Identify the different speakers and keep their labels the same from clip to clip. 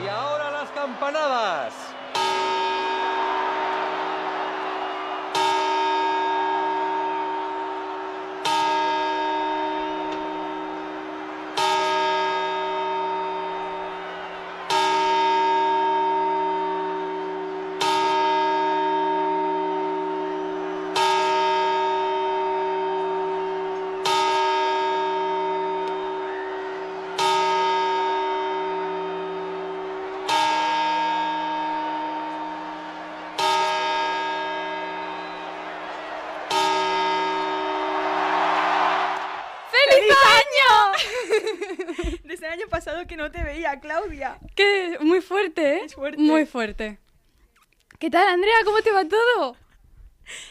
Speaker 1: Y ahora las campanadas.
Speaker 2: ¡Feliz
Speaker 3: Desde el año pasado que no te veía, Claudia.
Speaker 2: ¡Qué muy fuerte, eh!
Speaker 3: Es fuerte.
Speaker 2: Muy fuerte. ¿Qué tal, Andrea? ¿Cómo te va todo?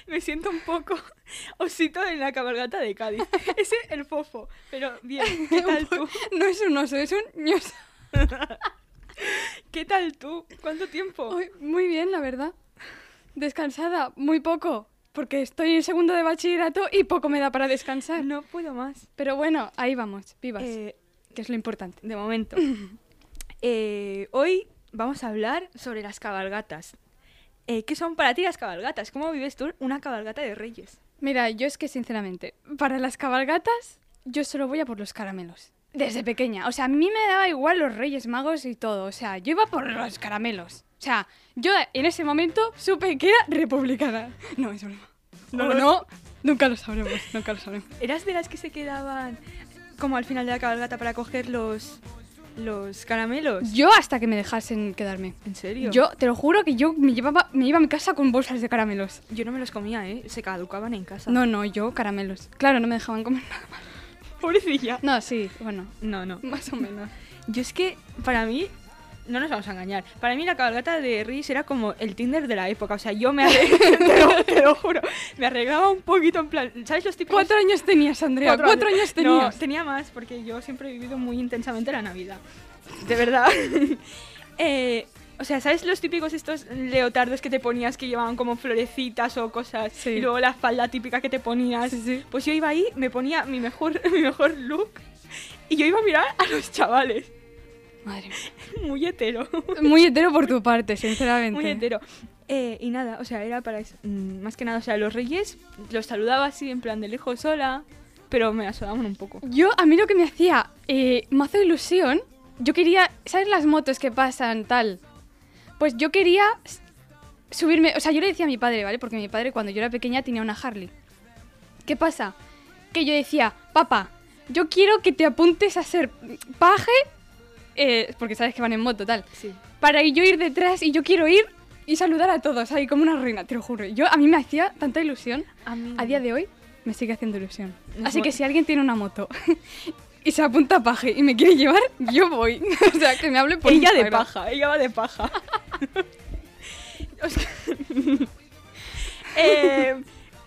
Speaker 3: Me siento un poco osito en la cabalgata de Cádiz. Ese el fofo. Pero bien, ¿qué tal tú?
Speaker 2: No es un oso, es un ñoso.
Speaker 3: ¿Qué tal tú? ¿Cuánto tiempo?
Speaker 2: Uy, Muy bien, la verdad. Descansada, muy poco, porque estoy en segundo de bachillerato y poco me da para descansar.
Speaker 3: No puedo más.
Speaker 2: Pero bueno, ahí vamos, vivas,
Speaker 3: Eh,
Speaker 2: que es lo importante.
Speaker 3: de momento. Eh, hoy vamos a hablar sobre las cabalgatas. Eh, ¿Qué son para ti las cabalgatas? ¿Cómo vives tú una cabalgata de reyes?
Speaker 2: Mira, yo es que sinceramente, para las cabalgatas, yo solo voy a por los caramelos. Desde pequeña. O sea, a mí me daba igual los Reyes Magos y todo. O sea, yo iba por los caramelos. O sea, yo en ese momento supe que era republicana. No, es broma.
Speaker 3: No
Speaker 2: O
Speaker 3: lo-
Speaker 2: no, nunca lo sabremos, nunca lo sabremos.
Speaker 3: ¿Eras de las que se quedaban como al final de la cabalgata para coger los, los caramelos?
Speaker 2: Yo hasta que me dejasen quedarme.
Speaker 3: ¿En serio?
Speaker 2: Yo te lo juro que yo me, llevaba, me iba a mi casa con bolsas de caramelos.
Speaker 3: Yo no me los comía, ¿eh? Se caducaban en casa.
Speaker 2: No, no, yo caramelos. Claro, no me dejaban comer nada más.
Speaker 3: Pobrecilla.
Speaker 2: No, sí, bueno,
Speaker 3: No, no.
Speaker 2: más o menos.
Speaker 3: Yo es que, para mí, no nos vamos a engañar. Para mí la cabalgata de Reyes era como el Tinder de la época. O sea, yo me arreglaba, te, lo, te lo juro, me arreglaba un poquito en plan... ¿Sabes los tipos?
Speaker 2: Cuatro años tenías, Andrea. Cuatro, años tenías.
Speaker 3: No, tenía más, porque yo siempre he vivido muy intensamente la Navidad. De verdad. Eh, o sea, ¿sabes los típicos estos leotardos que te ponías que llevaban como florecitas o cosas?
Speaker 2: Sí.
Speaker 3: Y luego la falda típica que te ponías.
Speaker 2: Ah, Sí, sí.
Speaker 3: Pues yo iba ahí, me ponía mi mejor, mi mejor look y yo iba a mirar a los chavales.
Speaker 2: Madre mía.
Speaker 3: Muy hetero.
Speaker 2: Muy hetero por tu parte, sinceramente.
Speaker 3: Muy hetero. Eh, y nada, o sea, era para eso. Mm, Más que nada, o sea, los reyes los saludaba así en plan de lejos, hola. Pero me la sudaban un poco.
Speaker 2: Yo, a mí lo que me hacía eh, mazo ilusión, yo quería, ¿sabes las motos que pasan tal? Pues yo quería s- subirme, o sea, yo le decía a mi padre, ¿vale? Porque mi padre cuando yo era pequeña tenía una Harley. ¿Qué pasa? Que yo decía, papá, yo quiero que te apuntes a ser paje, eh, porque sabes que van en moto, tal.
Speaker 3: Sí.
Speaker 2: para yo ir detrás y yo quiero ir y saludar a todos ahí como una reina, te lo juro. Yo a mí me hacía tanta ilusión.
Speaker 3: A mí
Speaker 2: A día de hoy me sigue haciendo ilusión.
Speaker 3: Ujú.
Speaker 2: Así que si alguien tiene una moto y se apunta a paje y me quiere llevar, yo voy. o sea, que me hable por
Speaker 3: ella de
Speaker 2: Instagram.
Speaker 3: paja, ella va de paja. O sea, eh,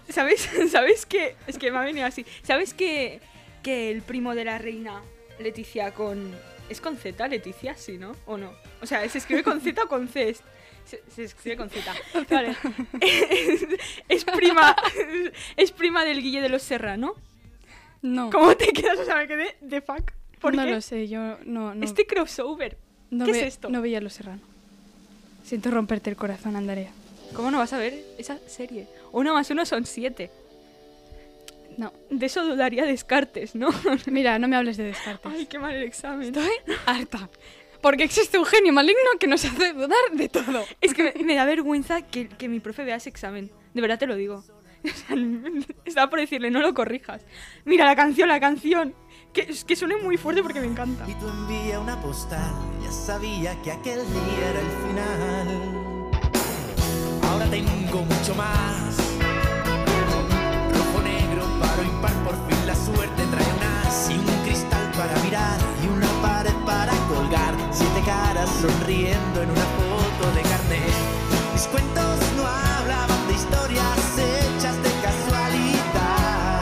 Speaker 3: ¿Sabéis? ¿Sabéis que es que me ha venido así? ¿Sabéis que que el primo de la reina Leticia con es con Z Leticia, sí, ¿no? ¿O no? O sea, se escribe con Z o con C. Se, se escribe con Z. Vale. Es, es prima es prima del Guille de los Serrano.
Speaker 2: No.
Speaker 3: ¿Cómo te quedas o sea, me quedé de fuck? ¿Por
Speaker 2: no
Speaker 3: qué?
Speaker 2: lo sé, yo no. no
Speaker 3: Este crossover.
Speaker 2: no
Speaker 3: ¿qué es
Speaker 2: ve-
Speaker 3: esto?
Speaker 2: No veía los serrano. Siento romperte el corazón, Andrea.
Speaker 3: ¿Cómo no vas a ver esa serie? Uno más uno son siete.
Speaker 2: No.
Speaker 3: De eso dudaría Descartes, ¿no?
Speaker 2: Mira, no me hables de descartes.
Speaker 3: Ay, qué mal el examen.
Speaker 2: Harta. Porque existe un genio maligno que nos hace dudar de todo.
Speaker 3: Es que me, me da vergüenza que, que mi profe vea ese examen. De verdad te lo digo. O sea, Estaba por decirle, no lo corrijas. Mira, la canción, la canción. Que, que suene muy fuerte porque me encanta.
Speaker 4: Y tú envía una postal, ya sabía que aquel día era el final. Ahora tengo mucho más. Rojo, negro, paro, impar, por fin la suerte trae un as y un cristal para mirar y una pared para colgar. Siete caras sonriendo en una foto de carnet. Mis cuentos no hablaban de historias hechas de casualidad.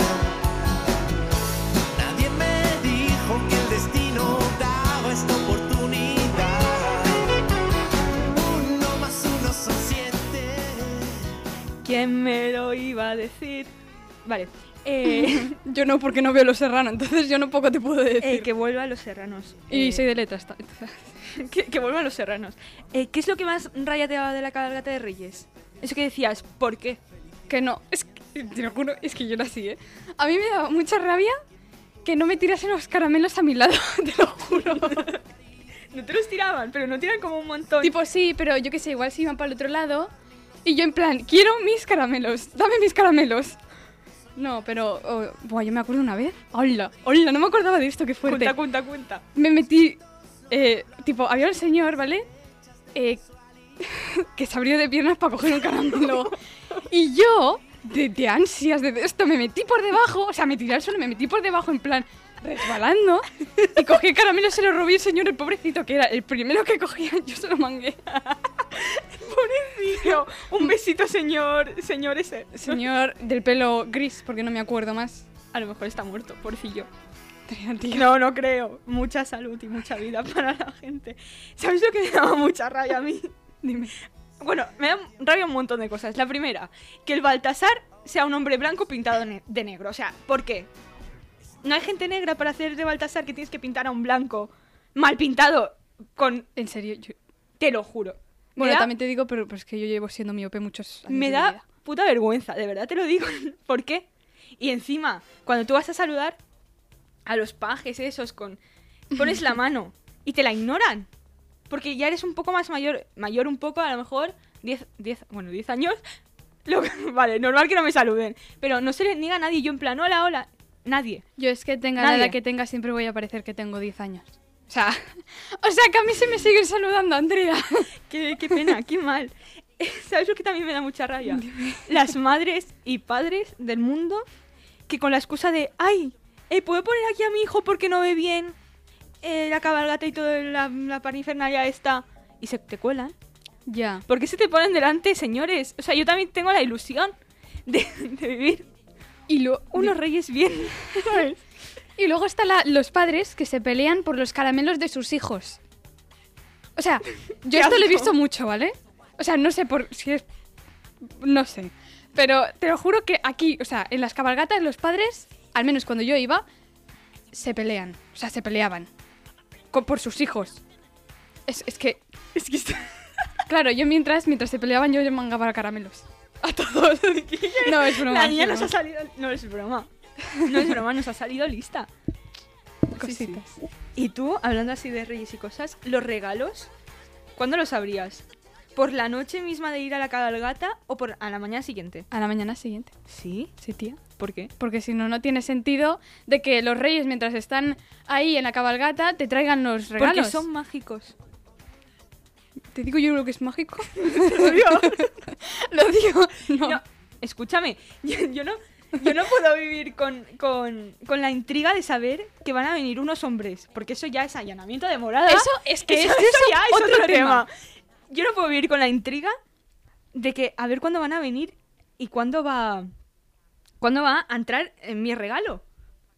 Speaker 4: Nadie me dijo que el destino daba esta oportunidad. Uno más uno son siete.
Speaker 3: ¿Quién me lo iba a decir? Vale. Eh,
Speaker 2: Yo no, porque no veo Los Serrano, entonces yo no poco te puedo decir.
Speaker 3: eh, que vuelva a los serranos.
Speaker 2: Y
Speaker 3: Eh,
Speaker 2: soy de letras. ta- entonces-
Speaker 3: que, que vuelva a los serranos. Eh, ¿Qué es lo que más raya te daba de la cabalgata de Reyes? Eso que decías, ¿por qué?
Speaker 2: Que no, es que, te lo juro, es que yo era así, ¿eh? A mí me daba mucha rabia que no me tirasen los caramelos a mi lado, te lo juro.
Speaker 3: No te los tiraban, pero no tiran como un montón.
Speaker 2: tipo, sí, pero yo qué sé, igual si iban para el otro lado. Y yo en plan, quiero mis caramelos, dame mis caramelos. No, pero, oh, buah, yo me acuerdo una vez. Hola, hola, no me acordaba de esto, qué fuerte.
Speaker 3: cuenta, cuenta, cuenta.
Speaker 2: me metí. eh, tipo, había un señor, ¿vale? Eh, que se abrió de piernas para coger un caramelo. y yo, de, de ansias de esto, me metí por debajo, o sea, me tiré al suelo, me metí por debajo, en plan, resbalando. y cogí el caramelo, se lo robé al señor, el pobrecito, que era el primero que cogía, yo se lo mangué.
Speaker 3: Tío, un besito, señor, señor ese.
Speaker 2: Señor del pelo gris, porque no me acuerdo más.
Speaker 3: A lo mejor está muerto, porcillo.
Speaker 2: Tenía, tío.
Speaker 3: No, no creo. Mucha salud y mucha vida para la gente. ¿Sabes lo que me daba mucha rabia a mí?
Speaker 2: Dime.
Speaker 3: Bueno, me da rabia un montón de cosas. La primera, que el Baltasar sea un hombre blanco pintado ne- de negro. O sea, ¿por qué? No hay gente negra para hacer de Baltasar que tienes que pintar a un blanco mal pintado con...
Speaker 2: En serio, yo-
Speaker 3: Te lo juro. Me
Speaker 2: Bueno,
Speaker 3: da-
Speaker 2: también te digo, pero, pero es que yo llevo siendo miope muchos años.
Speaker 3: Me
Speaker 2: de mi vida.
Speaker 3: da puta vergüenza, de verdad te lo digo. ¿Por qué? Y encima, cuando tú vas a saludar a los pajes esos con... Pones la mano y te la ignoran. Porque ya eres un poco más mayor, mayor un poco, a lo mejor 10, 10 bueno, 10 años. Lo que- vale, normal que no me saluden. Pero no se le niega a nadie. Yo en plan, hola, hola. Nadie.
Speaker 2: Yo es que tenga
Speaker 3: Nadie.
Speaker 2: la edad que tenga, siempre voy a parecer que tengo 10 años. O sea, o sea que a mí se me siguen saludando, Andrea.
Speaker 3: Qué, qué pena, qué mal. ¿Sabes lo que también me da mucha rabia? Las madres y padres del mundo que con la excusa de, ay, eh, ¿puedo poner aquí a mi hijo porque no ve bien eh, la cabalgata y toda la, la parnifernalia esta? Y se te cuelan.
Speaker 2: Ya.
Speaker 3: ¿Por qué se te ponen delante, señores? O sea, yo también tengo la ilusión de, de vivir
Speaker 2: Y, lo,
Speaker 3: unos reyes bien. ¿sabes?
Speaker 2: y luego están los padres que se pelean por los caramelos de sus hijos. O sea, yo esto lo
Speaker 3: asco.
Speaker 2: he visto mucho, ¿vale? O sea, no sé por si es... No sé. Pero te lo juro que aquí, o sea, en las cabalgatas los padres, al menos cuando yo iba, se pelean. O sea, se peleaban. co- por sus hijos. Es, es que
Speaker 3: Es que esto-
Speaker 2: Claro, yo mientras, mientras se peleaban, yo le mangaba caramelos. A todos. No, es broma.
Speaker 3: la niña
Speaker 2: es
Speaker 3: nos
Speaker 2: broma.
Speaker 3: ha salido... No es broma. No es broma, nos ha salido lista.
Speaker 2: Cositas.
Speaker 3: Y tú, hablando así de reyes y cosas, los regalos, ¿cuándo los abrías? ¿Por la noche misma de ir a la cabalgata o por a la mañana siguiente?
Speaker 2: A la mañana siguiente.
Speaker 3: Sí,
Speaker 2: Sí, tía.
Speaker 3: ¿por qué?
Speaker 2: Porque si no, no tiene sentido de que los reyes, mientras están ahí en la cabalgata, te traigan los regalos.
Speaker 3: Porque son mágicos.
Speaker 2: Te digo yo lo que es mágico. lo digo. No.
Speaker 3: No, escúchame, yo, yo no, yo no puedo vivir con, con- con la intriga de saber que van a venir unos hombres, porque eso ya es allanamiento de morada.
Speaker 2: Eso es que es, eso
Speaker 3: ya es
Speaker 2: otro, tema.
Speaker 3: Yo no puedo vivir con la intriga de que a ver cuándo van a venir y cuándo va cuándo va a entrar en mi regalo.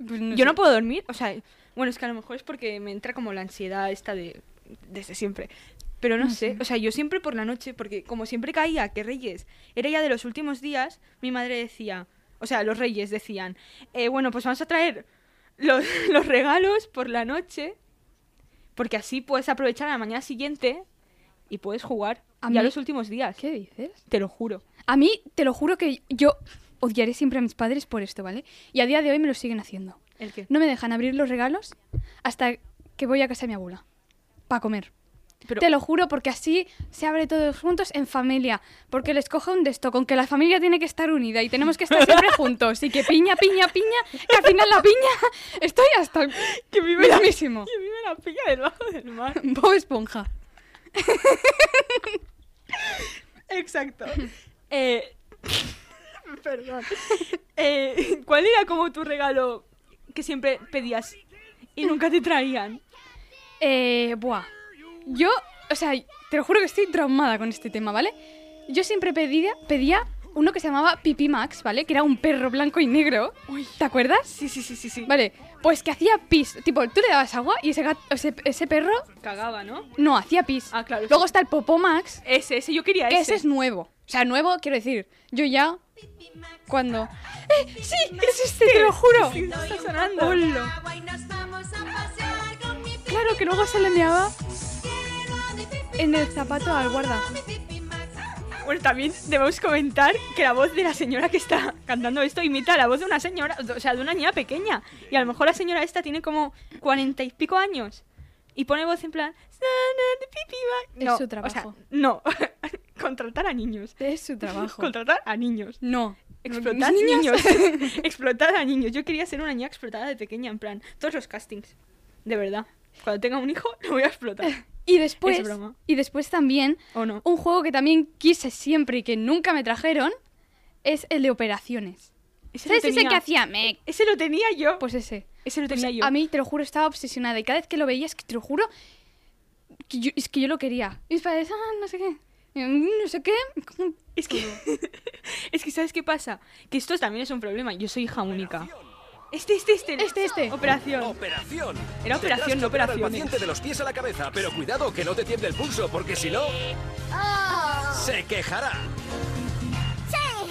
Speaker 2: Pues no
Speaker 3: Yo
Speaker 2: sé.
Speaker 3: no puedo dormir, o sea, bueno, es que a lo mejor es porque me entra como la ansiedad esta de desde siempre. Pero no, sé, o sea, yo siempre por la noche, porque como siempre caía que Reyes era ya de los últimos días, mi madre decía, o sea, los Reyes decían, eh, bueno, pues vamos a traer los, los regalos por la noche, porque así puedes aprovechar a la mañana siguiente y puedes jugar
Speaker 2: A
Speaker 3: ya
Speaker 2: mí-
Speaker 3: los últimos días,
Speaker 2: ¿Qué dices?
Speaker 3: te lo juro.
Speaker 2: A mí, te lo juro que yo odiaré siempre a mis padres por esto, ¿vale? Y a día de hoy me lo siguen haciendo.
Speaker 3: ¿El qué?
Speaker 2: No me dejan abrir los regalos hasta que voy a casa de mi abuela. Para comer.
Speaker 3: Pero-
Speaker 2: Te lo juro, porque así se abre todos juntos en familia. Porque les coge un desto, con que la familia tiene que estar unida y tenemos que estar siempre juntos. Y que piña, piña, piña, que al final la piña. Estoy hasta.
Speaker 3: Que vive la, que
Speaker 2: Mismísimo.
Speaker 3: vive la pilla debajo del mar.
Speaker 2: Bob Esponja.
Speaker 3: Exacto. Eh, perdón. Eh, ¿Cuál era como tu regalo que siempre pedías y nunca te traían?
Speaker 2: Eh, buah. Yo, o sea, te lo juro que estoy traumada con este tema, ¿vale? Yo siempre pedía, pedía uno que se llamaba Pipi Max, ¿vale? Que era un perro blanco y negro. ¿Te acuerdas?
Speaker 3: Sí, sí, sí, sí, sí.
Speaker 2: Vale, pues que hacía pis. Tipo, tú le dabas agua y ese, gat- ese, ese perro
Speaker 3: Cagaba, ¿no?
Speaker 2: no hacía pis.
Speaker 3: Ah, claro,
Speaker 2: Luego
Speaker 3: sí.
Speaker 2: está el Popo Max,
Speaker 3: Ese, ese, yo quería
Speaker 2: que
Speaker 3: ese.
Speaker 2: ese es nuevo. O sea, nuevo, quiero decir, yo ya cuando... ¡Eh, sí! ¡Existe! ¡Te lo juro!
Speaker 3: Está sonando.
Speaker 2: Ponlo. Claro que luego se le meaba en el zapato al guarda.
Speaker 3: Bueno, también debemos comentar que la voz de la señora que está cantando esto imita la voz de una señora, o sea, de una niña pequeña. Y a lo mejor la señora esta tiene como cuarenta y pico años. Y pone voz en plan...
Speaker 2: Es
Speaker 3: No,
Speaker 2: su
Speaker 3: o sea,
Speaker 2: trabajo.
Speaker 3: no, contratar a niños.
Speaker 2: Es su trabajo.
Speaker 3: Contratar a niños.
Speaker 2: No.
Speaker 3: Explotar
Speaker 2: Niños.
Speaker 3: niños. explotar a niños. Yo quería ser una niña explotada de pequeña, en plan, todos los castings. De verdad. Cuando tenga un hijo, lo voy a explotar.
Speaker 2: Y después,
Speaker 3: Es broma.
Speaker 2: y después también,
Speaker 3: ¿O no?
Speaker 2: un juego que también quise siempre y que nunca me trajeron es el de operaciones.
Speaker 3: Ese lo
Speaker 2: ¿Sabes ese
Speaker 3: tenía-
Speaker 2: que hacía? Me...
Speaker 3: Ese lo tenía yo.
Speaker 2: Pues ese.
Speaker 3: ese lo tenía yo.
Speaker 2: A mí, te lo juro, estaba obsesionada. Y cada vez que lo veía, es que te lo juro, que yo- es que yo lo quería. Y mis padres, ah, no sé qué. y, "Mm, No sé qué.
Speaker 3: Es que, es que, ¿sabes qué pasa? Que esto también es un problema. Yo soy hija única. Este, este, este.
Speaker 2: Este, este.
Speaker 3: Operación.
Speaker 5: Operación. Tendrás
Speaker 3: Era operación,
Speaker 5: que
Speaker 3: no
Speaker 5: operar al
Speaker 3: operaciones.
Speaker 5: paciente de los pies a la cabeza, pero cuidado que no te tiemble el pulso, porque si no... Se quejará.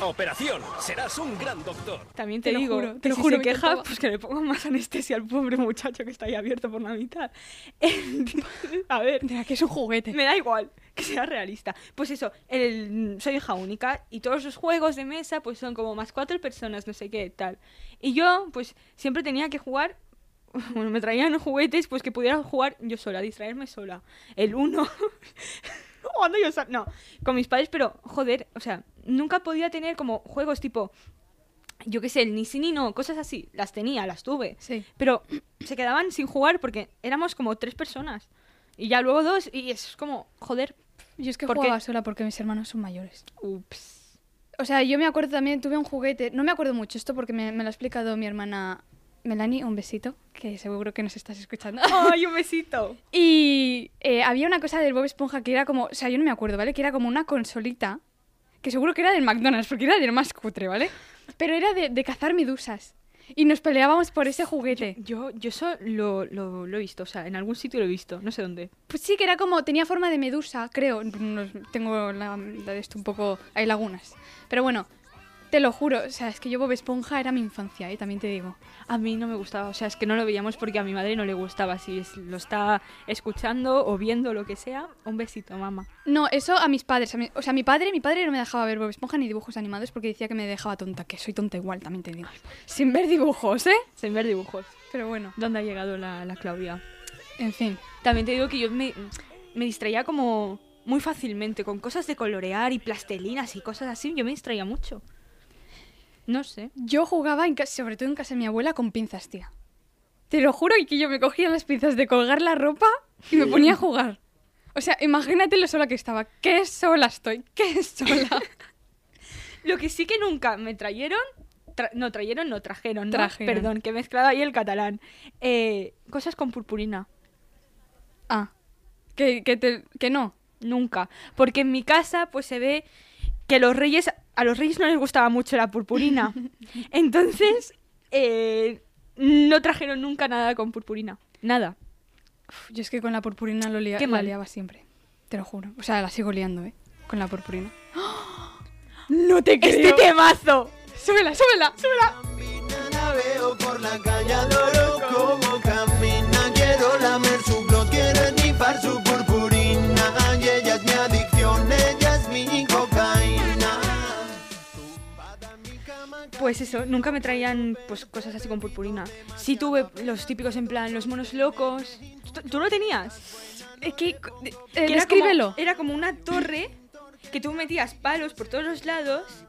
Speaker 5: Operación. Serás un gran doctor.
Speaker 3: También te,
Speaker 2: Te lo
Speaker 3: digo,
Speaker 2: juro, te
Speaker 3: que
Speaker 2: lo
Speaker 3: si
Speaker 2: juro,
Speaker 3: se
Speaker 2: me
Speaker 3: queja,
Speaker 2: encantaba.
Speaker 3: pues que le pongan más anestesia al pobre muchacho que está ahí abierto por la mitad. Entonces, A ver,
Speaker 2: Mira, que es un juguete.
Speaker 3: me da igual que sea realista. Pues eso, el, soy hija única y todos los juegos de mesa pues son como más cuatro personas, no sé qué, tal. Y yo pues siempre tenía que jugar, bueno, me traían juguetes pues que pudiera jugar yo sola, distraerme sola. El uno, jugando yo sola, no, con mis padres, pero joder, o sea, nunca podía tener como juegos tipo, yo qué sé, el ni sí ni no, cosas así, las tenía, las tuve.
Speaker 2: Sí.
Speaker 3: Pero se quedaban sin jugar porque éramos como tres personas. Y ya luego dos, y es como, joder,
Speaker 2: Yo es que
Speaker 3: ¿Por qué?
Speaker 2: jugaba sola porque mis hermanos son mayores.
Speaker 3: ups.
Speaker 2: O sea, yo me acuerdo también, tuve un juguete, no me acuerdo mucho esto porque me, me lo ha explicado mi hermana Melanie, un besito, que seguro que nos estás escuchando.
Speaker 3: ¡Ay, un besito!
Speaker 2: Y eh, había una cosa del Bob Esponja que era como, o sea, yo no me acuerdo, ¿vale? Que era como una consolita, que seguro que era del McDonald's, porque era del más cutre, ¿vale? Pero era de, de cazar medusas. Y nos peleábamos por ese juguete.
Speaker 3: Yo, yo eso lo, lo, lo he visto, o sea, en algún sitio lo he visto, no sé dónde.
Speaker 2: Pues sí, que era como, tenía forma de medusa, creo. No- tengo la, la de esto un poco, hay lagunas. Pero bueno, te lo juro, o sea, es que yo Bob Esponja era mi infancia, ¿eh? También te digo.
Speaker 3: A mí no me gustaba, o sea, es que no lo veíamos porque a mi madre no le gustaba. Si es- lo está escuchando o viendo lo que sea, un besito, mamá.
Speaker 2: No, eso a mis padres. a mi- o sea, mi padre, mi padre no me dejaba ver Bob Esponja ni dibujos animados porque decía que me dejaba tonta, que soy tonta igual, también te digo. Sin ver dibujos, ¿eh?
Speaker 3: Sin ver dibujos.
Speaker 2: Pero bueno,
Speaker 3: ¿Dónde ha llegado la, la Claudia?
Speaker 2: en fin.
Speaker 3: También te digo que yo me, me distraía como muy fácilmente con cosas de colorear y plastelinas y cosas así. Yo me distraía mucho. No sé.
Speaker 2: Yo jugaba, en ca- sobre todo en casa de mi abuela, con pinzas, tía. Te lo juro, y que yo me cogía las pinzas de colgar la ropa y me ponía a jugar. O sea, imagínate lo sola que estaba. ¡Qué sola estoy! ¡Qué sola!
Speaker 3: Lo que sí que nunca me trajeron, tra- no trajeron, no trajeron, ¿no?
Speaker 2: Trajeron.
Speaker 3: Perdón, que he mezclado ahí el catalán. Eh, cosas con purpurina.
Speaker 2: Ah, que, que, te- que no.
Speaker 3: Nunca. Porque en mi casa, pues se ve que los reyes. A los reyes no les gustaba mucho la purpurina. Entonces, eh, no trajeron nunca nada con purpurina. Nada.
Speaker 2: Uf, yo es que con la purpurina lo lia-
Speaker 3: Qué
Speaker 2: la
Speaker 3: mal.
Speaker 2: liaba siempre. Te lo juro. O sea, la sigo liando, ¿eh? Con la purpurina. ¡No te creo!
Speaker 3: ¡Este temazo!
Speaker 2: ¡Súbela, súbela! ¡Súbela!
Speaker 4: La veo por la calle, adoro cómo camina. Quiero lamer su glow, quiero rifar su purpurina. Y ella es mi adicción, ella es mi cocaína. Tumbada en mi cama,
Speaker 3: Pues eso, nunca me traían pues cosas así con purpurina. Sí tuve los típicos en plan, los monos locos. ¿Tú, tú lo tenías?
Speaker 2: Eh, que- eh,
Speaker 3: Que era como-
Speaker 2: descríbelo.
Speaker 3: era como una torre que tú metías palos por todos los lados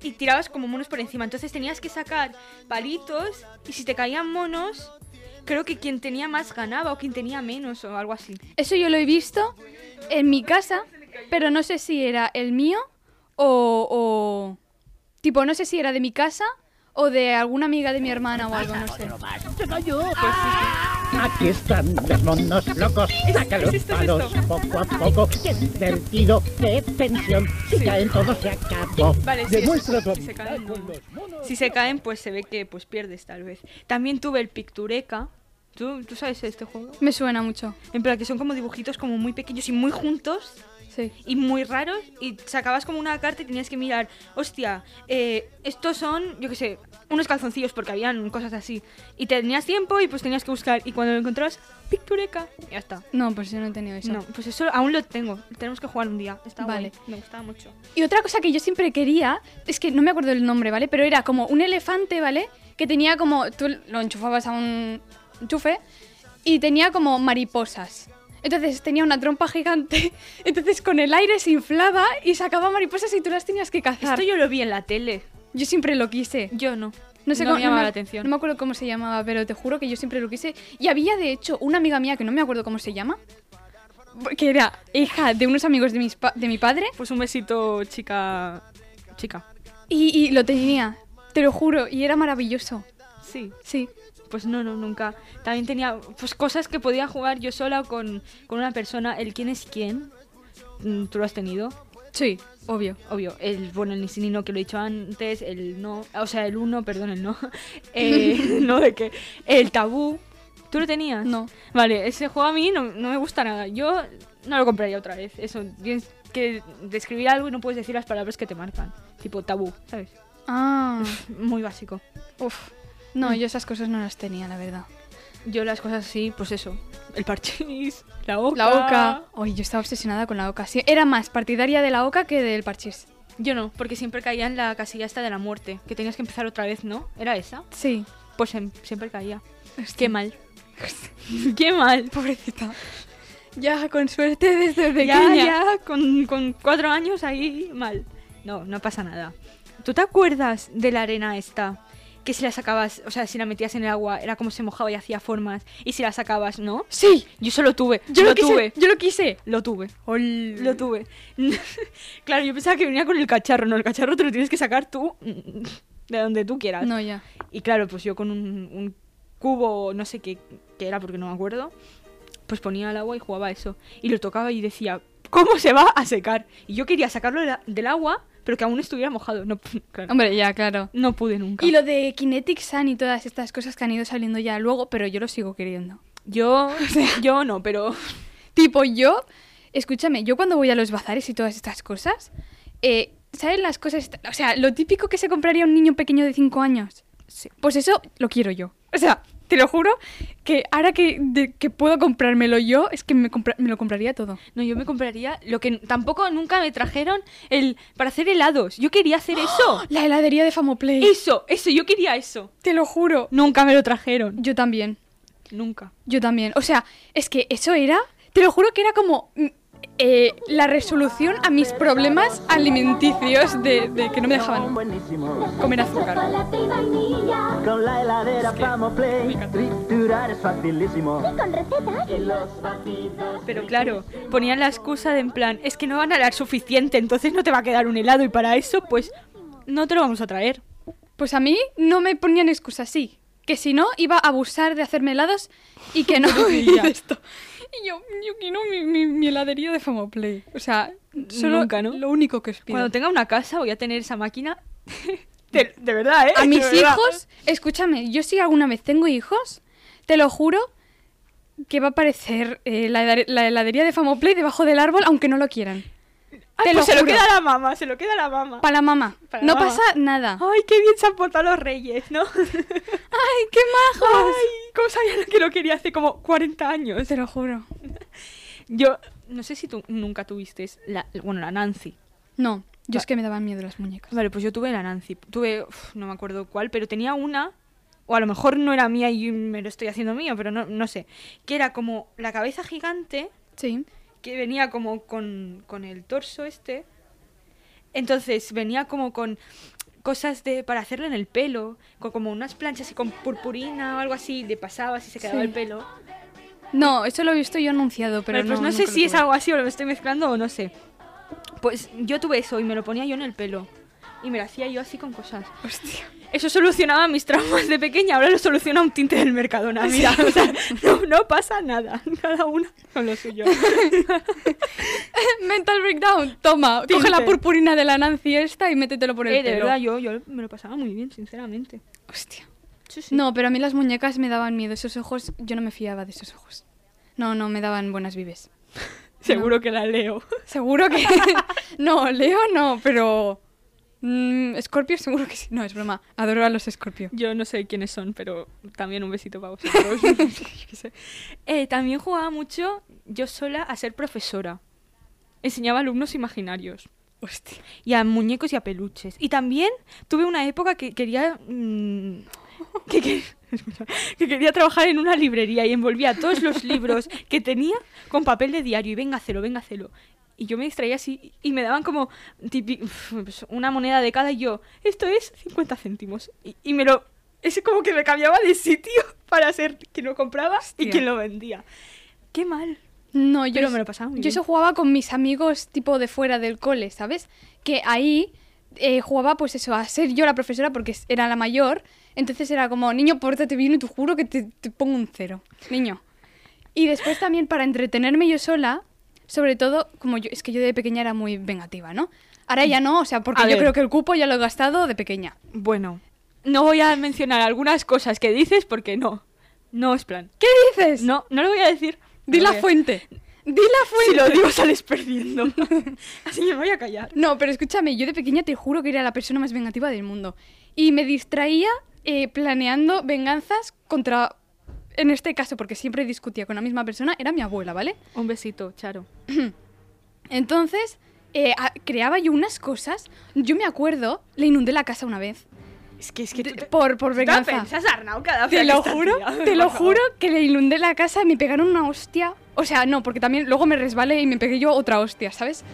Speaker 3: y tirabas como monos por encima. Entonces tenías que sacar palitos y si te caían monos, creo que quien tenía más ganaba o quien tenía menos o algo así.
Speaker 2: Eso yo lo he visto en mi casa, pero no sé si era el mío o, o- Tipo, no sé si era de mi casa o de alguna amiga de mi hermana o algo, no sé.
Speaker 6: pues Aquí están los monos locos, saca los
Speaker 3: esto, es
Speaker 6: palos
Speaker 3: esto.
Speaker 6: poco a poco. Qué divertido, qué tensión. Si caen todos se acabó.
Speaker 3: Vale, sí,
Speaker 6: Demuestra tu
Speaker 3: si se
Speaker 6: amistad
Speaker 3: caen,
Speaker 6: con
Speaker 3: no.
Speaker 6: los monos.
Speaker 3: Si se caen, pues se ve que pues pierdes tal vez. También tuve el Pictureca. ¿Tú, ¿Tú sabes este juego?
Speaker 2: Me suena mucho.
Speaker 3: En plan que son como dibujitos como muy pequeños y muy juntos.
Speaker 2: Sí.
Speaker 3: y muy raros y sacabas como una carta y tenías que mirar, hostia, eh, estos son, yo qué sé, unos calzoncillos porque habían cosas así. Y tenías tiempo y pues tenías que buscar y cuando lo encontrabas, pictureca, ya está.
Speaker 2: No, pues yo no he tenido eso.
Speaker 3: No, pues eso aún lo tengo. Tenemos que jugar un día. Está
Speaker 2: Vale.
Speaker 3: vale. Me gustaba mucho.
Speaker 2: Y otra cosa que yo siempre quería, es que no me acuerdo el nombre, ¿vale? Pero era como un elefante, ¿vale? Que tenía como, tú lo enchufabas a un enchufe y tenía como mariposas. Entonces tenía una trompa gigante, entonces con el aire se inflaba y sacaba mariposas y tú las tenías que cazar.
Speaker 3: Esto yo lo vi en la tele.
Speaker 2: Yo siempre lo quise.
Speaker 3: Yo no.
Speaker 2: No sé cómo
Speaker 3: me llamaba
Speaker 2: no
Speaker 3: la atención.
Speaker 2: No me acuerdo cómo se llamaba, pero te juro que yo siempre lo quise. Y había, de hecho, una amiga mía que no me acuerdo cómo se llama, que era hija de unos amigos de, mis pa- de mi padre,
Speaker 3: Pues un besito, chica. Chica.
Speaker 2: y, y lo tenía, te lo juro, y era maravilloso.
Speaker 3: Sí.
Speaker 2: Sí,
Speaker 3: Pues no, no, nunca. También tenía pues cosas que podía jugar yo sola o con, con una persona. El quién es quién. Mm, Tú lo has tenido,
Speaker 2: sí, obvio.
Speaker 3: obvio. El bueno, el ni sí ni no que lo he dicho antes. El no. O sea, el uno, perdón, el no. Eh, no de qué. El tabú. ¿Tú lo tenías?
Speaker 2: No.
Speaker 3: Vale, ese juego a mí no, no me gusta nada. Yo no lo compraría otra vez. Eso, tienes que describir algo y no puedes decir las palabras que te marcan. Tipo tabú, ¿sabes?
Speaker 2: Ah,
Speaker 3: Muy básico.
Speaker 2: uff. No, yo esas cosas no las tenía, la verdad.
Speaker 3: Yo las cosas así, pues eso. El parchís, la oca.
Speaker 2: La oca. Oye, yo estaba obsesionada con la oca. Sí, era más partidaria de la oca que del parchís.
Speaker 3: Yo no, porque siempre caía en la casilla esta de la muerte. Que tenías que empezar otra vez, ¿no? ¿Era esa?
Speaker 2: Sí.
Speaker 3: Pues em- siempre caía. Qué mal. Qué mal.
Speaker 2: Pobrecita. Ya, con suerte desde
Speaker 3: Ya,
Speaker 2: pequeña.
Speaker 3: ya, con, con cuatro años ahí, mal. No, no pasa nada. ¿Tú te acuerdas de la arena esta? Que si la sacabas, o sea, si la metías en el agua, era como se mojaba y hacía formas. Y si la sacabas, ¿no?
Speaker 2: Sí,
Speaker 3: Yo solo tuve.
Speaker 2: yo lo,
Speaker 3: lo,
Speaker 2: quise.
Speaker 3: tuve.
Speaker 2: Yo lo quise.
Speaker 3: Lo tuve. Lo tuve. claro, yo pensaba que venía con el cacharro. No, el cacharro te lo tienes que sacar tú mm, de donde tú quieras.
Speaker 2: No, ya.
Speaker 3: Y claro, pues yo con un, un cubo, no sé qué, qué era porque no me acuerdo, pues ponía el agua y jugaba a eso. Y lo tocaba y decía, ¿cómo se va a secar? Y yo quería sacarlo de la- del agua, pero que aún estuviera mojado. No, pu- claro,
Speaker 2: Hombre, ya, claro.
Speaker 3: no pude nunca.
Speaker 2: Y lo de Kinetic Sun y todas estas cosas que han ido saliendo ya luego, pero yo lo sigo queriendo.
Speaker 3: Yo, yo no, pero...
Speaker 2: Tipo, yo, escúchame, yo cuando voy a los bazares y todas estas cosas, eh, ¿sabes las cosas? esta- O sea, lo típico que se compraría un niño pequeño de 5 años. Pues eso lo quiero yo. O sea, te lo juro que ahora que, de- que puedo comprármelo yo, es que me, compra- me lo compraría todo.
Speaker 3: No, yo me compraría lo que tampoco nunca me trajeron el para hacer helados. Yo quería
Speaker 2: ¡Ah!
Speaker 3: hacer eso.
Speaker 2: La heladería de Famoplay.
Speaker 3: Eso, eso, yo quería eso.
Speaker 2: Te lo juro.
Speaker 3: Nunca me lo trajeron.
Speaker 2: Yo también.
Speaker 3: Nunca.
Speaker 2: Yo también. O sea, es que eso era, te lo juro que era como mm, eh, la resolución a mis problemas alimenticios de, de que no me dejaban
Speaker 7: Buenísimo.
Speaker 2: comer azúcar.
Speaker 8: Chocolate y vainilla
Speaker 7: Con la heladera Play, triturar es facilísimo.
Speaker 8: con recetas.
Speaker 3: Pero claro, ponían la excusa de en plan, es que no van a dar suficiente, entonces no te va a quedar un helado y para eso, pues, no te lo vamos a traer.
Speaker 2: Pues a mí no me ponían excusas así. Que si no, iba a abusar de hacerme helados y que no. y
Speaker 3: ya.
Speaker 2: esto. Y yo, yo quiero mi, mi- mi heladería de Famoplay. O sea, solo
Speaker 3: Nunca, ¿no?
Speaker 2: lo único que os pido.
Speaker 3: Cuando tenga una casa voy a tener esa máquina. De, de verdad, ¿eh?
Speaker 2: a
Speaker 3: De
Speaker 2: mis
Speaker 3: verdad.
Speaker 2: hijos, escúchame, yo si alguna vez tengo hijos, te lo juro que va a aparecer eh, la, helade- la heladería de Famoplay debajo del árbol, aunque no lo quieran.
Speaker 3: Ay,
Speaker 2: te
Speaker 3: pues
Speaker 2: lo
Speaker 3: se lo
Speaker 2: juro.
Speaker 3: queda la mamá, se lo queda la mamá.
Speaker 2: Para mamá.
Speaker 3: Para
Speaker 2: no
Speaker 3: mamá.
Speaker 2: pasa nada.
Speaker 3: Ay, qué bien se han portado los reyes, ¿no?
Speaker 2: ¡Ay, qué majos!
Speaker 3: Ay, ¿cómo sabían que lo quería hace como 40 años?
Speaker 2: Te lo juro.
Speaker 3: Yo, no sé si tú nunca tuviste la, bueno, la Nancy.
Speaker 2: No, yo
Speaker 3: Va-
Speaker 2: es que me daban miedo las muñecas.
Speaker 3: Vale, pues yo tuve la Nancy. Tuve, uf, no me acuerdo cuál, pero tenía una, o a lo mejor no era mía y me lo estoy haciendo mío, pero no, no sé. Que era como la cabeza gigante
Speaker 2: Sí.
Speaker 3: que venía como con, con el torso este. Entonces venía como con cosas de para hacerlo en el pelo, con como unas planchas y con purpurina o algo así, le pasabas y se quedaba
Speaker 2: Sí.
Speaker 3: el pelo.
Speaker 2: No, eso lo he visto yo anunciado, pero
Speaker 3: Vale, pues no, sé
Speaker 2: nunca lo
Speaker 3: si es
Speaker 2: tuve.
Speaker 3: algo así o lo me estoy mezclando o no sé. Pues yo tuve eso y me lo ponía yo en el pelo. Y me lo hacía yo así con cosas.
Speaker 2: Hostia.
Speaker 3: Eso solucionaba mis traumas de pequeña, ahora lo soluciona un tinte del Mercadona. Mira, o sea, no, no pasa nada, cada una con lo suyo.
Speaker 2: Mental breakdown. Toma, coge la
Speaker 3: Tinte.
Speaker 2: purpurina de la Nancy esta y métetelo por el
Speaker 3: Eh, de
Speaker 2: pelo.
Speaker 3: verdad, yo, yo me lo pasaba muy bien, sinceramente.
Speaker 2: Hostia.
Speaker 3: Sí, sí.
Speaker 2: No, pero a mí las muñecas me daban miedo. Esos ojos, yo no me fiaba de esos ojos. No, no, me daban buenas vives.
Speaker 3: Seguro que la leo.
Speaker 2: Seguro que. no, Leo no, pero. mm, Scorpio seguro que sí. No, es broma. Adoro a los Scorpio.
Speaker 3: Yo no sé quiénes son, pero también un besito para vosotros. Yo qué sé. Eh, también jugaba mucho yo sola a ser profesora. Enseñaba alumnos imaginarios.
Speaker 2: Hostia.
Speaker 3: Y a muñecos y a peluches. Y también tuve una época que quería. mm, que, que- espera, que quería trabajar en una librería y envolvía todos los libros que tenía con papel de diario. Y venga, celo, venga, celo. Y yo me distraía así y me daban como tipi- pues, una moneda de cada y yo, esto es 50 céntimos. Y, y me lo... Es como que me cambiaba de sitio para ser quien lo compraba y
Speaker 2: Hostia.
Speaker 3: quien lo vendía. Qué mal.
Speaker 2: No, yo,
Speaker 3: Pero
Speaker 2: es-
Speaker 3: me lo pasaba muy
Speaker 2: yo
Speaker 3: bien.
Speaker 2: eso jugaba con mis amigos tipo de fuera del cole, ¿sabes? Que ahí eh, jugaba pues eso, a ser yo la profesora porque es- era la mayor. Entonces era como, niño, pórtate bien y te juro que te, te pongo un cero, niño. Y después también para entretenerme yo sola, sobre todo, como yo, es que yo de pequeña era muy vengativa, ¿no? Ahora ya no, o sea, porque
Speaker 3: A
Speaker 2: yo
Speaker 3: ver.
Speaker 2: creo que el cupo ya lo he gastado de pequeña.
Speaker 3: Bueno, no voy a mencionar algunas cosas que dices porque no. No es plan.
Speaker 2: ¿Qué dices?
Speaker 3: No, no lo voy a decir.
Speaker 2: Di la
Speaker 3: Porque
Speaker 2: fuente. Di la fuente.
Speaker 3: Si lo digo sales perdiendo. Así que me voy a callar.
Speaker 2: No, pero escúchame, yo de pequeña te juro que era la persona más vengativa del mundo. Y me distraía eh, planeando venganzas contra... En este caso, porque siempre discutía con la misma persona, era mi abuela, ¿vale?
Speaker 3: Un besito, Charo.
Speaker 2: Entonces, eh, a- creaba yo unas cosas. Yo me acuerdo, le inundé la casa una vez.
Speaker 3: Es que es que tú
Speaker 2: de-
Speaker 3: te,
Speaker 2: por, por
Speaker 3: tú te la
Speaker 2: venganza.
Speaker 3: pensas, Arnau, cada
Speaker 2: Te
Speaker 3: vez
Speaker 2: lo
Speaker 3: que estás
Speaker 2: juro,
Speaker 3: liado,
Speaker 2: te lo
Speaker 3: por favor.
Speaker 2: juro que le inundé la casa y me pegaron una hostia. O sea, no, porque también luego me resbalé y me pegué yo otra hostia, ¿sabes?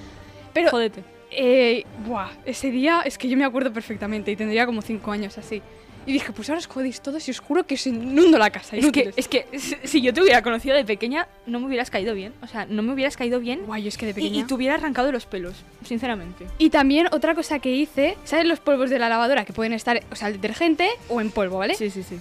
Speaker 2: Pero
Speaker 3: Jódete.
Speaker 2: Eh, buah, ese día es que yo me acuerdo perfectamente y tendría como 5 años así. Y dije, pues ahora os jodéis todos y os juro que os inundo la casa.
Speaker 3: Es que,
Speaker 2: inútiles.
Speaker 3: es que si si yo te hubiera conocido de pequeña, no me hubieras caído bien. O sea, no me hubieras caído bien
Speaker 2: Guay, yo es que de pequeña.
Speaker 3: y, y te hubiera arrancado los pelos, sinceramente.
Speaker 2: Y también otra cosa que hice, ¿sabes los polvos de la lavadora que pueden estar, o sea, el detergente o en polvo, ¿vale?
Speaker 3: Sí, sí, sí.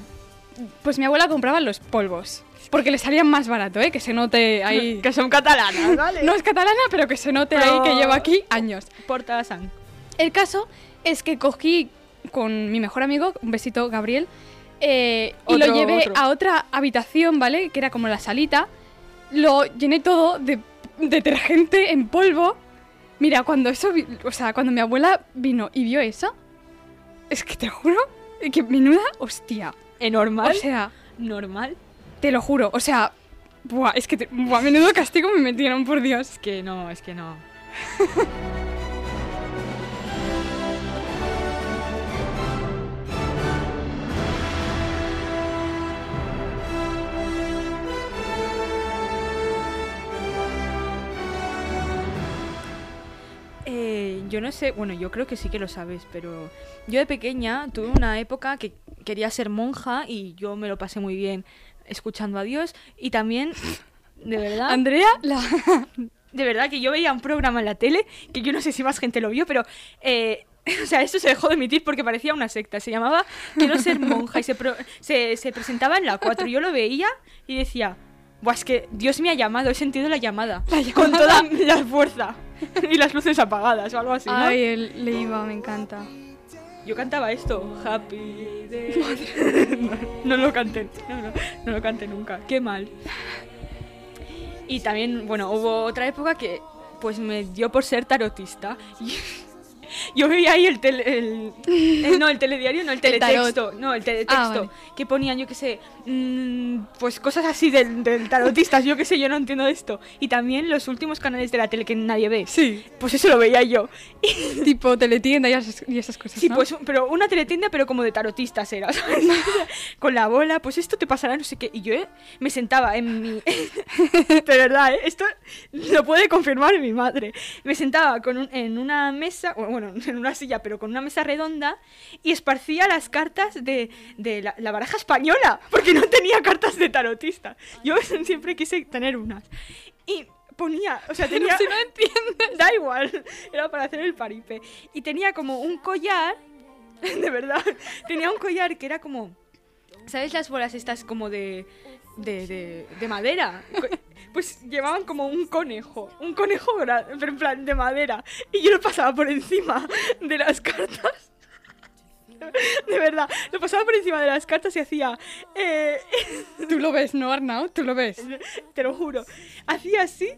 Speaker 2: Pues mi abuela compraba los polvos. Porque le salían más barato, ¿eh? Que se note ahí.
Speaker 3: Que son catalanas, ¿vale?
Speaker 2: No es catalana, pero que se note
Speaker 3: Pero-
Speaker 2: ahí que llevo aquí años.
Speaker 3: Porta sang.
Speaker 2: El caso es que cogí con mi mejor amigo, un besito Gabriel, eh, y lo
Speaker 3: Otro,
Speaker 2: llevé
Speaker 3: otro.
Speaker 2: a otra habitación, ¿vale? Que era como la salita. Lo llené todo de detergente en polvo. Mira, cuando eso, vi- o sea, cuando mi abuela vino y vio eso, es que te juro que menuda hostia.
Speaker 3: ¿Es normal?
Speaker 2: O sea,
Speaker 3: normal.
Speaker 2: te lo juro, o sea, buah, es que te- buah, menudo castigo me metieron, por Dios.
Speaker 3: Es que no, es que no. Eh, yo no sé, bueno, yo creo que sí que lo sabes, pero yo de pequeña tuve una época que quería ser monja y yo me lo pasé muy bien escuchando a Dios y también, de verdad...
Speaker 2: Andrea, la...
Speaker 3: De verdad que yo veía un programa en la tele, que yo no sé si más gente lo vio, pero... eh, o sea, esto se dejó de emitir porque parecía una secta. Se llamaba Quiero ser monja y se, pro- se, se presentaba en la 4. Yo lo veía y decía, Buah, es que Dios me ha llamado, he sentido la llamada. Con toda la fuerza. Y las luces apagadas o algo así, ¿no?
Speaker 2: Ay, el Leiva, me encanta.
Speaker 3: Yo cantaba esto. Happy day. no lo canté. No, no, no lo canté nunca. Qué mal. Y también, bueno, hubo otra época que pues me dio por ser tarotista. Y Yo veía ahí el tele... el- eh, no, el telediario, no, el
Speaker 2: El tarot.
Speaker 3: teletexto. no, el teletexto.
Speaker 2: Ah, vale.
Speaker 3: Que ponían, yo qué sé, mm, pues cosas así del, del tarotista. Yo qué sé, yo no entiendo de esto. Y también los últimos canales de la tele que nadie ve.
Speaker 2: Sí.
Speaker 3: Pues eso lo veía yo.
Speaker 2: tipo teletienda y esas, y esas cosas.
Speaker 3: Sí,
Speaker 2: ¿no?
Speaker 3: pues, pero una teletienda, pero como de tarotistas era, ¿sabes? Con la bola, pues esto te pasará, no sé qué. Y yo eh, me sentaba en mi. de verdad, ¿eh? esto lo puede confirmar mi madre. Me sentaba con un- en una mesa, o bueno, en una silla, pero con una mesa redonda, y esparcía las cartas de, de la, la baraja española, porque no tenía cartas de tarotista. Yo siempre quise tener unas. Y ponía, o sea, tenía.
Speaker 2: si no
Speaker 3: entiendes. Da igual, era para hacer el paripe. Y tenía como un collar, de verdad, tenía un collar que era como. ¿Sabes las bolas estas como de. de, de, de madera? Co- Pues llevaban como un conejo, un conejo, gra- pero en plan de madera. Y yo lo pasaba por encima de las cartas. De verdad, lo pasaba por encima de las cartas y hacía. eh,
Speaker 2: Tú lo ves, ¿no, Arnau? Tú lo ves.
Speaker 3: te lo juro. Hacía así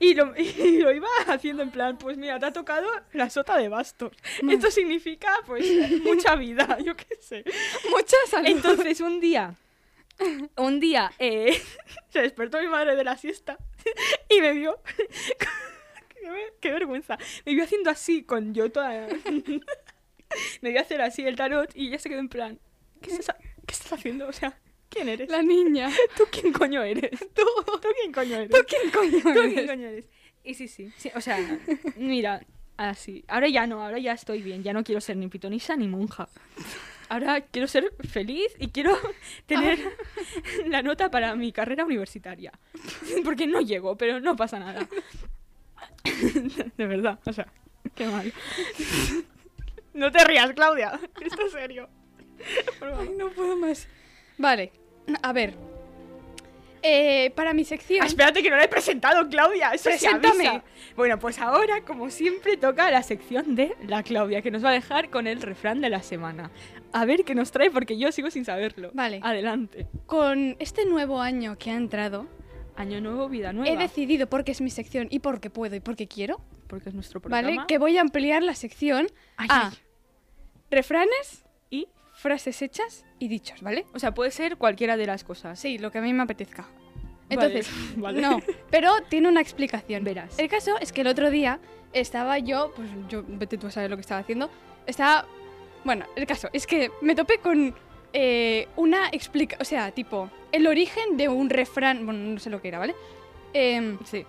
Speaker 3: Y lo, y lo iba haciendo en plan, pues mira, te ha tocado la sota de bastos.
Speaker 2: Mm.
Speaker 3: Esto significa, pues, mucha vida, yo qué sé.
Speaker 2: Mucha salud.
Speaker 3: Entonces, un día, un día, eh, se despertó mi madre de la siesta y me vio. qué, ver- qué vergüenza. Me vio haciendo así con yo toda. me vio hacer así el tarot y ella se quedó en plan, ¿qué estás, ha- qué estás haciendo? O sea, ¿quién eres?
Speaker 2: La niña.
Speaker 3: ¿Tú quién coño eres? ¿Tú, ¿Tú quién coño eres?
Speaker 2: ¿Tú quién coño
Speaker 3: ¿Tú
Speaker 2: eres?
Speaker 3: quién coño eres? Y sí, sí, sí, O sea, mira, así. Ahora ya no, ahora ya estoy bien. Ya no quiero ser ni pitonisa ni monja. Ahora quiero ser feliz y quiero tener la nota para mi carrera universitaria. Porque no llego, pero no pasa nada. De verdad, o sea, qué mal. No te rías, Claudia. Esto es serio. Por favor.
Speaker 2: Ay, no puedo más. Vale, a ver. Eh, para mi sección.
Speaker 3: Ah, espérate que no la he presentado, Claudia. Eso se
Speaker 2: Preséntame.
Speaker 3: avisa. Bueno, pues ahora, como siempre, toca la sección de la Claudia, que nos va a dejar con el refrán de la semana. A ver qué nos trae, porque yo sigo sin saberlo.
Speaker 2: Vale.
Speaker 3: Adelante.
Speaker 2: Con este nuevo año que ha entrado,
Speaker 3: Año nuevo, vida nueva.
Speaker 2: he decidido, porque es mi sección y porque puedo y porque quiero,
Speaker 3: porque es nuestro programa.
Speaker 2: ¿vale? Que voy a ampliar la sección
Speaker 3: Ay,
Speaker 2: a
Speaker 3: ay.
Speaker 2: refranes,
Speaker 3: Y,
Speaker 2: frases hechas y dichos, ¿vale?
Speaker 3: o sea, puede ser cualquiera de las cosas.
Speaker 2: Sí, lo que a mí me apetezca.
Speaker 3: Vale,
Speaker 2: Entonces,
Speaker 3: vale.
Speaker 2: no, pero tiene una explicación.
Speaker 3: Verás.
Speaker 2: El caso es que el otro día estaba yo, pues yo, vete tú a saber lo que estaba haciendo, estaba, bueno, el caso es que me topé con eh, una explica, o sea, tipo, el origen de un refrán, bueno, no sé lo que era, ¿vale? Em,
Speaker 3: Sí.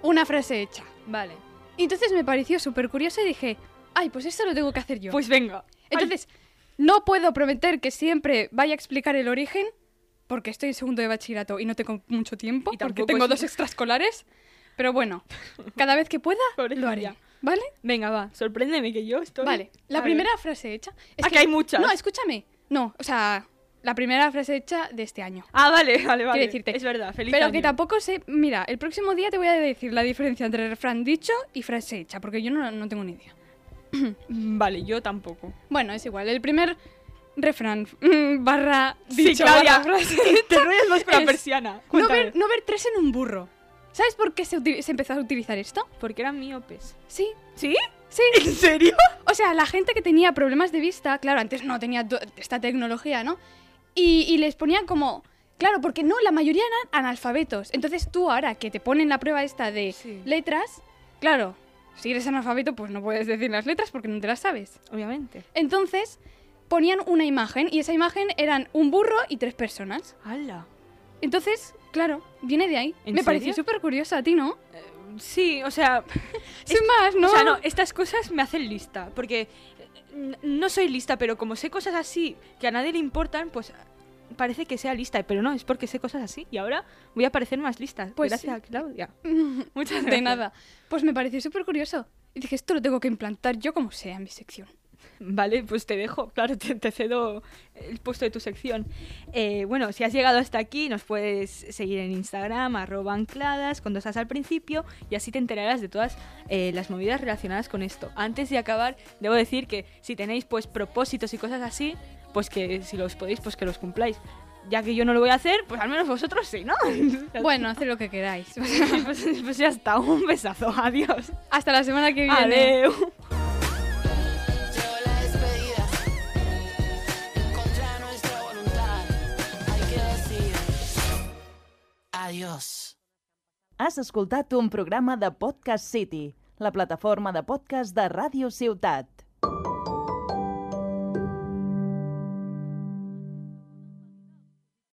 Speaker 2: una frase hecha.
Speaker 3: Vale.
Speaker 2: Y entonces me pareció súper curioso y dije, ay, pues esto lo tengo que hacer yo.
Speaker 3: Pues venga.
Speaker 2: Entonces, no puedo prometer que siempre vaya a explicar el origen, porque estoy en segundo de bachillerato y no tengo mucho tiempo,
Speaker 3: Y
Speaker 2: porque
Speaker 3: tampoco
Speaker 2: tengo
Speaker 3: es-
Speaker 2: dos extraescolares. Pero bueno, cada vez que pueda,
Speaker 3: Pobrecilla.
Speaker 2: lo haré. ¿Vale?
Speaker 3: Ay, venga, va. Sorpréndeme que yo estoy.
Speaker 2: Vale. La
Speaker 3: A ver.
Speaker 2: primera frase hecha.
Speaker 3: Ah, que hay muchas.
Speaker 2: No, escúchame. No, o sea, la primera frase hecha de este año.
Speaker 3: Ah, vale, vale, vale.
Speaker 2: Quiero decirte.
Speaker 3: Es verdad, feliz
Speaker 2: Pero
Speaker 3: año.
Speaker 2: que tampoco sé. Mira, el próximo día te voy a decir la diferencia entre refrán dicho y frase hecha, porque yo no, no tengo ni idea.
Speaker 3: Vale, yo tampoco.
Speaker 2: Bueno, es igual. El primer refrán mm, barra dicho
Speaker 3: sí, Claudia,
Speaker 2: barra frase
Speaker 3: te rollas más por la
Speaker 2: es-
Speaker 3: persiana.
Speaker 2: No
Speaker 3: Cuéntame.
Speaker 2: ver, no ver tres en un burro. ¿Sabes por qué se, uti- se empezó a utilizar esto?
Speaker 3: Porque eran miopes.
Speaker 2: Sí,
Speaker 3: ¿Sí?
Speaker 2: sí.
Speaker 3: ¿En serio?
Speaker 2: O sea, la gente que tenía problemas de vista, claro, antes no tenía to- esta tecnología, ¿no? Y, y les ponían como... Claro, porque no, la mayoría eran analfabetos. Entonces tú ahora que te ponen la prueba esta de
Speaker 3: Sí.
Speaker 2: letras, claro, si eres analfabeto pues no puedes decir las letras porque no te las sabes.
Speaker 3: Obviamente.
Speaker 2: Entonces ponían una imagen y esa imagen eran un burro y tres personas.
Speaker 3: ¡Hala!
Speaker 2: Entonces, claro, viene de ahí.
Speaker 3: ¿En
Speaker 2: Me pareció
Speaker 3: serio?
Speaker 2: súper curiosa a ti, ¿no?
Speaker 3: Sí, o sea,
Speaker 2: Sin más, ¿no?
Speaker 3: o sea, no, estas cosas me hacen lista, porque eh, n- no soy lista, pero como sé cosas así que a nadie le importan, pues parece que sea lista, pero no, es porque sé cosas así y ahora voy a parecer más lista.
Speaker 2: Pues
Speaker 3: gracias,
Speaker 2: sí.
Speaker 3: Claudia.
Speaker 2: Muchas De nada. Pues me pareció súper curioso. Y dije, esto lo tengo que implantar yo como sea en mi sección.
Speaker 3: Vale, pues te dejo, claro, te, te cedo el puesto de tu sección. Eh, bueno, si has llegado hasta aquí, nos puedes seguir en Instagram, arroba ancladas, cuando estás al principio, y así te enterarás de todas eh, las movidas relacionadas con esto. Antes de acabar, debo decir que si tenéis pues propósitos y cosas así, pues que si los podéis, pues que los cumpláis. Ya que yo no lo voy a hacer, pues al menos vosotros sí, ¿no?
Speaker 2: Bueno, haced lo que queráis.
Speaker 3: pues, pues ya está, un besazo, adiós.
Speaker 2: Hasta la semana que viene.
Speaker 3: Adiós.
Speaker 9: Llegó la despedida, en contra de nuestra voluntad, hay que decir adiós.
Speaker 10: Has escoltat un programa de Podcast City, la plataforma de podcast de Ràdio Ciutat.